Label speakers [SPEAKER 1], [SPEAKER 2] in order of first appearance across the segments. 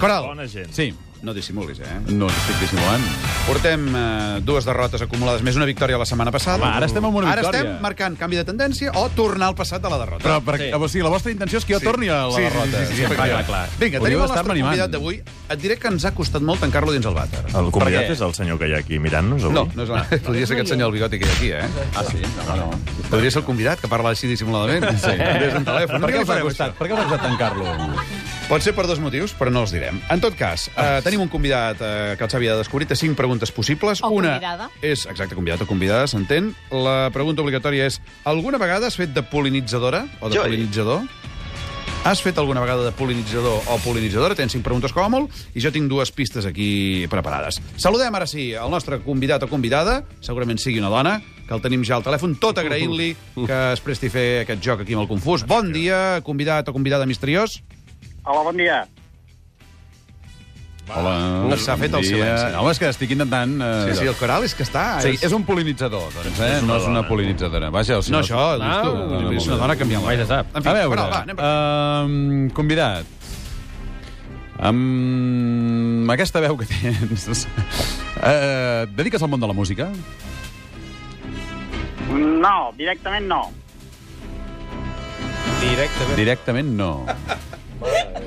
[SPEAKER 1] Coral.
[SPEAKER 2] Bona gent.
[SPEAKER 1] Sí. No dissimulis, eh?
[SPEAKER 3] No estic dissimulant.
[SPEAKER 1] Portem eh, dues derrotes acumulades, més una victòria la setmana passada.
[SPEAKER 3] Home, ara estem amb una
[SPEAKER 1] Ara
[SPEAKER 3] victòria.
[SPEAKER 1] estem marcant canvi de tendència o tornar al passat de la derrota.
[SPEAKER 3] Però, per,
[SPEAKER 2] Sí.
[SPEAKER 3] sí. o sigui, la vostra intenció és que jo sí. torni a la
[SPEAKER 1] Sí, sí,
[SPEAKER 3] derrota.
[SPEAKER 1] sí, sí, sí,
[SPEAKER 3] Perquè-
[SPEAKER 2] clar, clar, clar.
[SPEAKER 1] Vinga,
[SPEAKER 3] Hauríeu
[SPEAKER 1] tenim el
[SPEAKER 3] d'estar-me
[SPEAKER 1] nostre
[SPEAKER 3] animant. Ah,
[SPEAKER 1] convidat d'avui. Et diré que ens ha costat molt tancar-lo dins el vàter.
[SPEAKER 2] El
[SPEAKER 3] Per
[SPEAKER 2] convidat
[SPEAKER 3] què?
[SPEAKER 2] és el senyor que hi ha aquí mirant-nos avui?
[SPEAKER 1] No, no és la... Podria ser aquest senyor del bigoti que hi ha aquí, eh?
[SPEAKER 3] Ah, sí? No, no.
[SPEAKER 1] Podria ser el convidat, que parla així dissimuladament. Sí. Des d'un telèfon.
[SPEAKER 3] Per
[SPEAKER 1] li
[SPEAKER 3] què us ha
[SPEAKER 1] farem,
[SPEAKER 3] costat? Per què us ha costat tancar-lo?
[SPEAKER 1] això? Pot ser per dos motius, però no els direm. En tot cas,
[SPEAKER 4] Ah.
[SPEAKER 1] eh, tenim un convidat eh, que el Xavi ha descobrit. Té cinc preguntes possibles.
[SPEAKER 5] O
[SPEAKER 1] Una
[SPEAKER 5] convidada.
[SPEAKER 1] és, exacte, convidat o convidada, s'entén. La pregunta obligatòria és, alguna vegada has fet de polinitzadora o de
[SPEAKER 4] Jo he dit.
[SPEAKER 1] polinitzador? Has fet alguna vegada de polinitzador o polinitzadora? Tens cinc preguntes com a molt i jo tinc dues pistes aquí preparades. Saludem ara sí el nostre convidat o convidada, segurament sigui una dona, que el tenim ja al telèfon, tot agraint-li que es presti a fer aquest joc aquí amb el Confús. Bon dia, convidat o convidada misteriós.
[SPEAKER 4] Hola, bon dia.
[SPEAKER 3] Hola.
[SPEAKER 1] Doncs S'ha fet el
[SPEAKER 3] Bon dia.
[SPEAKER 1] silenci.
[SPEAKER 3] Home, és que estic intentant... Eh,
[SPEAKER 1] Sí, sí, el coral és que està...
[SPEAKER 3] Sí, és un polinitzador, doncs, eh? No és una polinitzadora. Vaja, o sigui,
[SPEAKER 1] No, això, dius tu.
[SPEAKER 3] Ah,
[SPEAKER 1] és una dona canviant la...
[SPEAKER 6] Mai se sap.
[SPEAKER 1] En fi,
[SPEAKER 3] a veure, eh,
[SPEAKER 1] coral, va, anem per aquí.
[SPEAKER 3] ehm, convidat. Amb aquesta veu que tens... Eh, et dediques al món de la música?
[SPEAKER 4] No, directament no.
[SPEAKER 6] Directament.
[SPEAKER 3] Directament no.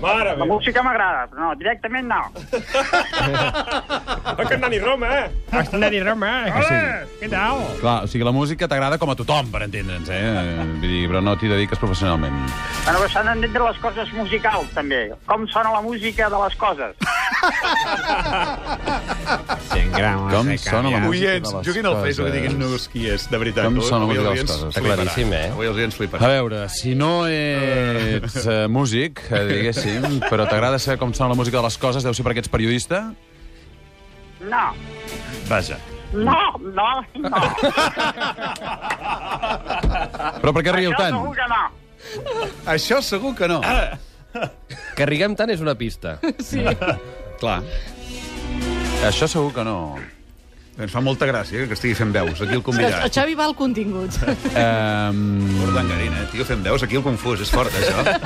[SPEAKER 6] Mare
[SPEAKER 4] La música m'agrada, però no, directament no.
[SPEAKER 6] meva, que Nani Roma, eh? Has Nani Roma, eh? Hola, què tal?
[SPEAKER 3] Clar, o sigui, la música t'agrada com a tothom, per entendre'ns, eh? Vull dir, però no t'hi dediques professionalment.
[SPEAKER 4] Bueno, però s'han d'entendre les coses musicals, també. Com sona la música de les coses.
[SPEAKER 3] Com sona la música
[SPEAKER 1] Oients,
[SPEAKER 3] de les
[SPEAKER 1] juguin al Facebook i
[SPEAKER 3] coses.
[SPEAKER 1] diguin-nos qui és, de veritat.
[SPEAKER 3] Com
[SPEAKER 1] Avui-
[SPEAKER 3] sona la
[SPEAKER 1] avui
[SPEAKER 3] música de
[SPEAKER 1] els
[SPEAKER 3] les
[SPEAKER 1] oients
[SPEAKER 3] coses.
[SPEAKER 1] fliparan.
[SPEAKER 6] Claríssim, eh?
[SPEAKER 1] Avui els oients
[SPEAKER 3] A
[SPEAKER 1] fliparan.
[SPEAKER 3] veure, si no ets eh, músic, eh, diguéssim, però t'agrada saber com sona la música de les coses, deu ser perquè ets periodista?
[SPEAKER 4] No,
[SPEAKER 2] Vaja.
[SPEAKER 4] no, no, no.
[SPEAKER 3] Però per què rieu
[SPEAKER 4] Això
[SPEAKER 3] tant?
[SPEAKER 4] segur que no.
[SPEAKER 1] Això segur que no.
[SPEAKER 6] Que riguem tant és una pista.
[SPEAKER 1] Clar.
[SPEAKER 3] Això segur que no.
[SPEAKER 1] Ens fa molta gràcia eh, que estigui fent veus, aquí el
[SPEAKER 5] Que
[SPEAKER 4] eh.
[SPEAKER 5] El
[SPEAKER 1] convidat.
[SPEAKER 5] Xavi va al contingut.
[SPEAKER 3] Um,
[SPEAKER 1] Portant garina, eh? Tio, fent veus, aquí el confús, és fort, això.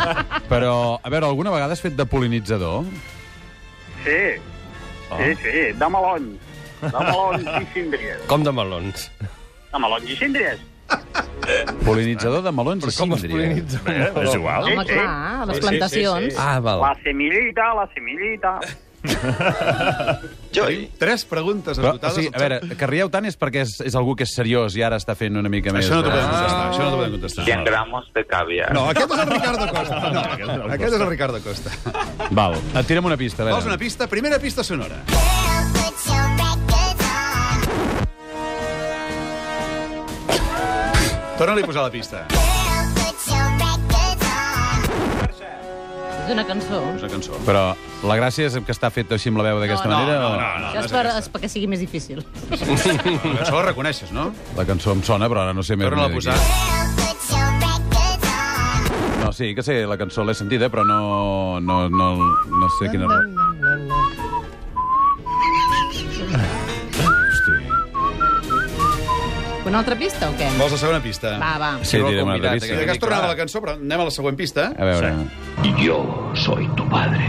[SPEAKER 3] però, a veure, alguna vegada has fet de polinitzador?
[SPEAKER 4] Sí, sí, sí, de melons. De melons i síndries.
[SPEAKER 6] Com de melons.
[SPEAKER 4] De melons i síndries.
[SPEAKER 3] Polinitzador de melons i
[SPEAKER 6] Com es
[SPEAKER 3] síndries.
[SPEAKER 6] polinitza?
[SPEAKER 2] Eh, és igual.
[SPEAKER 5] Home,
[SPEAKER 4] sí.
[SPEAKER 5] clar, a les plantacions.
[SPEAKER 6] Ah, val.
[SPEAKER 4] La semillita, la semillita. Jo,
[SPEAKER 1] Tres preguntes
[SPEAKER 3] Però, o
[SPEAKER 1] esgotades.
[SPEAKER 3] sigui, a veure, que rieu tant és perquè és, és algú que és seriós i ara està fent una mica més...
[SPEAKER 1] Això no t'ho podem
[SPEAKER 3] de-
[SPEAKER 1] contestar, això no t'ho podem contestar.
[SPEAKER 7] 100 gramos de caviar.
[SPEAKER 1] No, aquest és el Ricardo Costa. No, aquest és el Ricardo Costa.
[SPEAKER 3] Val, et tirem una pista, a veure.
[SPEAKER 1] Vols una pista? Primera pista sonora. Torna-li a posar la pista.
[SPEAKER 5] És una cançó.
[SPEAKER 1] És una cançó.
[SPEAKER 3] Però la gràcia és que està fet així amb la veu d'aquesta
[SPEAKER 5] No, no,
[SPEAKER 3] manera?
[SPEAKER 1] No,
[SPEAKER 3] o-
[SPEAKER 1] no,
[SPEAKER 4] Ah,
[SPEAKER 1] no.
[SPEAKER 5] Això és per, és perquè sigui més difícil.
[SPEAKER 1] La cançó la reconeixes, no?
[SPEAKER 3] La cançó em sona, però ara no sé més.
[SPEAKER 1] Torna-la a
[SPEAKER 3] ni de qui.
[SPEAKER 1] posar.
[SPEAKER 3] No, sí, que sé, la cançó l'he sentida, però no, no, no, no sé quina...
[SPEAKER 5] Una altra pista o què?
[SPEAKER 1] Vols la segona pista?
[SPEAKER 5] Va, va.
[SPEAKER 3] Sí, diré una
[SPEAKER 6] Convidat,
[SPEAKER 3] altra
[SPEAKER 1] Sí, que
[SPEAKER 3] pista.
[SPEAKER 1] has tornat a la cançó, però anem a la següent pista.
[SPEAKER 3] A veure...
[SPEAKER 7] Yo soy tu padre.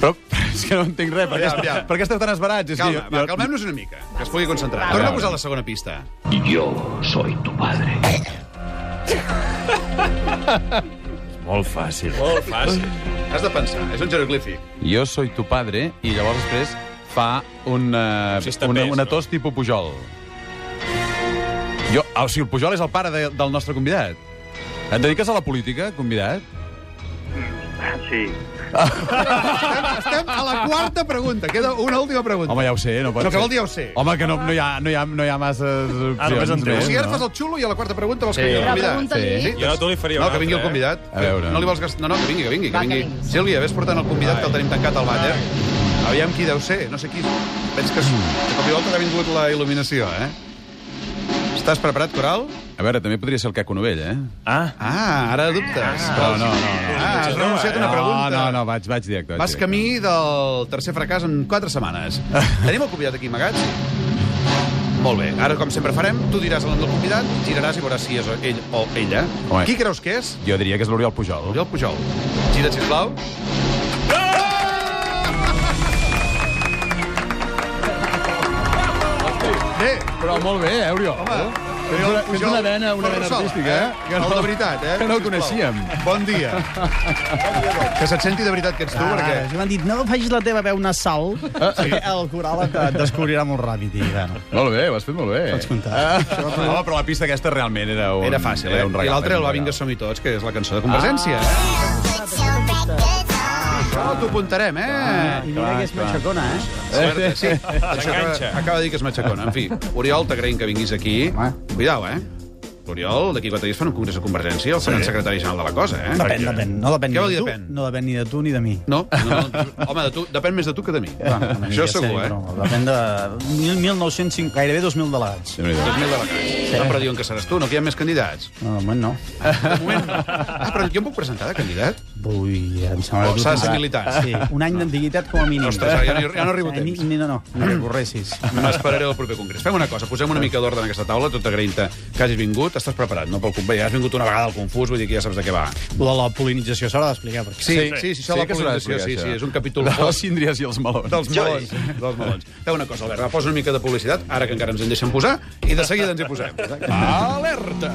[SPEAKER 3] Però és que no entenc res, perquè,
[SPEAKER 1] Aviam, aviam.
[SPEAKER 3] per què esteu tan esbarats? És que
[SPEAKER 1] Calma,
[SPEAKER 3] jo-
[SPEAKER 1] va,
[SPEAKER 3] jo-
[SPEAKER 1] calmem-nos una mica, que es pugui concentrar.
[SPEAKER 5] Va,
[SPEAKER 1] Torna a
[SPEAKER 3] va,
[SPEAKER 1] posar
[SPEAKER 3] va.
[SPEAKER 1] la segona pista.
[SPEAKER 7] Yo soy tu padre.
[SPEAKER 2] Molt fàcil.
[SPEAKER 1] Has de pensar, és un jeroglífic.
[SPEAKER 3] Jo soy tu padre, i llavors després fa un, eh, una, una tos tipus Pujol. Jo, ah, o sigui, el Pujol és el pare de, del nostre convidat. Et dediques a la política, convidat?
[SPEAKER 4] Sí.
[SPEAKER 1] Estem a la quarta pregunta, queda una última pregunta.
[SPEAKER 3] Home, ja ho sé, no pot
[SPEAKER 1] No, que
[SPEAKER 3] ser.
[SPEAKER 1] vol dir ja ho sé. Ah,
[SPEAKER 3] Home, que no, no, hi ha, no, hi ha, no hi ha masses opcions.
[SPEAKER 2] només en té
[SPEAKER 1] o
[SPEAKER 3] més,
[SPEAKER 1] sigui, ara
[SPEAKER 3] no?
[SPEAKER 1] fas el xulo i a la quarta pregunta vols que
[SPEAKER 6] Sí.
[SPEAKER 1] vingui el
[SPEAKER 5] Però
[SPEAKER 1] convidat.
[SPEAKER 5] pregunta-li.
[SPEAKER 3] Sí.
[SPEAKER 5] Sí.
[SPEAKER 6] Jo no, tu li faria
[SPEAKER 1] No,
[SPEAKER 6] una
[SPEAKER 1] que vingui el
[SPEAKER 6] altra, eh?
[SPEAKER 1] convidat.
[SPEAKER 3] A veure.
[SPEAKER 1] No li vols gastar... No, no, que vingui, que vingui. Que
[SPEAKER 5] Va, que
[SPEAKER 1] vingui.
[SPEAKER 5] vingui.
[SPEAKER 1] Sílvia, vés portant el convidat que el tenim tancat al vàter. Aviam qui deu ser, no sé qui. Veig que és... de cop i volta t'ha vingut la il·luminació, eh? Estàs preparat, Coral?
[SPEAKER 3] A veure, també podria ser el Caco Novell, eh?
[SPEAKER 2] Ah,
[SPEAKER 1] Ah, ara dubtes.
[SPEAKER 3] Però no, no, no.
[SPEAKER 1] Ah, has renunciat a una pregunta.
[SPEAKER 3] No, no, no, vaig, vaig directe. Vaig
[SPEAKER 1] Vas
[SPEAKER 3] directe.
[SPEAKER 1] camí del tercer fracàs en quatre setmanes. Tenim el convidat aquí amagat? Molt bé. Ara, com sempre farem, tu diràs el nom del convidat, giraràs i veuràs si és ell o ella.
[SPEAKER 3] Home.
[SPEAKER 1] Qui creus que és?
[SPEAKER 3] Jo diria que és l'Oriol Pujol.
[SPEAKER 1] Oriol Pujol. Gira't, sisplau. Bé,
[SPEAKER 3] Però molt bé, eh, Oriol?
[SPEAKER 1] home, Oriol
[SPEAKER 3] una- és una vena- una vena
[SPEAKER 1] Ferrusola,
[SPEAKER 3] artística, eh? Que
[SPEAKER 1] El
[SPEAKER 3] no-
[SPEAKER 1] de veritat, eh?
[SPEAKER 3] que no el
[SPEAKER 1] Sisplau.
[SPEAKER 3] coneixíem.
[SPEAKER 1] Bon dia. que se't senti de veritat que ets tu, ah, perquè...
[SPEAKER 8] M'han dit, no facis la teva veu nasal, sí. el coral et et descobrirà molt ràpid. I, bueno,
[SPEAKER 3] Molt bé, ho has fet molt bé. Ah.
[SPEAKER 8] pots comptar.
[SPEAKER 3] Home, però la pista aquesta realment era un...
[SPEAKER 1] Era fàcil, eh?
[SPEAKER 3] era un
[SPEAKER 1] I
[SPEAKER 3] regal.
[SPEAKER 1] l'altre, el
[SPEAKER 3] era un
[SPEAKER 1] Va Vinga
[SPEAKER 3] regal.
[SPEAKER 1] Som-hi Tots, que és la cançó de Convergència. Ah. Això t'ho apuntarem, eh?
[SPEAKER 3] Ah.
[SPEAKER 8] I mira que és matxacona, eh?
[SPEAKER 1] Suerte, sí. Acaba, acaba de dir que és matxacona. En fi, Oriol, t'agraïm que vinguis aquí.
[SPEAKER 8] Home.
[SPEAKER 1] Cuidao, eh? L'Oriol, d'aquí quatre dies fan un congrés de Convergència, el faran secretari general de la cosa, eh?
[SPEAKER 8] Depèn, depèn. No depèn,
[SPEAKER 1] Què vol
[SPEAKER 8] ni
[SPEAKER 1] dir
[SPEAKER 8] de tu,
[SPEAKER 1] depèn?
[SPEAKER 8] no depèn ni de tu ni de mi.
[SPEAKER 1] No, no, no, home, de tu, depèn més de tu que de mi.
[SPEAKER 8] Bueno, una
[SPEAKER 1] Això
[SPEAKER 8] mica,
[SPEAKER 1] segur,
[SPEAKER 8] sí,
[SPEAKER 1] eh?
[SPEAKER 8] però Depèn de mil- 1.905, gairebé 2.000 delegats.
[SPEAKER 1] Dos mil delegats. No, però diuen que seràs tu, no? Que hi ha més candidats.
[SPEAKER 8] No, de moment no.
[SPEAKER 1] De moment... Ah, però jo em puc presentar de candidat?
[SPEAKER 8] Vull, em sembla...
[SPEAKER 1] Oh,
[SPEAKER 8] que-
[SPEAKER 1] s'ha de ser militant.
[SPEAKER 8] Sí, un any d'antiguitat com a mínim.
[SPEAKER 1] Ostres, ara ja no hi- ja no arribo a
[SPEAKER 8] Ni,
[SPEAKER 1] temps.
[SPEAKER 8] ni, no, no, no, avorressis.
[SPEAKER 1] M'esperaré al proper congrés. Fem una cosa, posem una mica d'ordre en aquesta taula, tot agraint-te que hagis vingut. Estàs preparat, no? Pel convé, ja has vingut una vegada al confús, vull dir que ja saps de què va.
[SPEAKER 8] La, la polinització s'haurà d'explicar, perquè...
[SPEAKER 1] Sí, sí, sí, sí,
[SPEAKER 3] sí,
[SPEAKER 1] la
[SPEAKER 3] que s'haurà
[SPEAKER 1] polinització, sí,
[SPEAKER 3] d'explicar,
[SPEAKER 1] sí,
[SPEAKER 3] això.
[SPEAKER 1] és un capítol
[SPEAKER 3] De les
[SPEAKER 1] fort.
[SPEAKER 3] síndries i els melons.
[SPEAKER 1] Dels melons, dels melons. Feu una cosa, Albert, va, posa una mica de publicitat, ara que encara ens en deixen posar, i de seguida ens hi posem.
[SPEAKER 3] Alerta!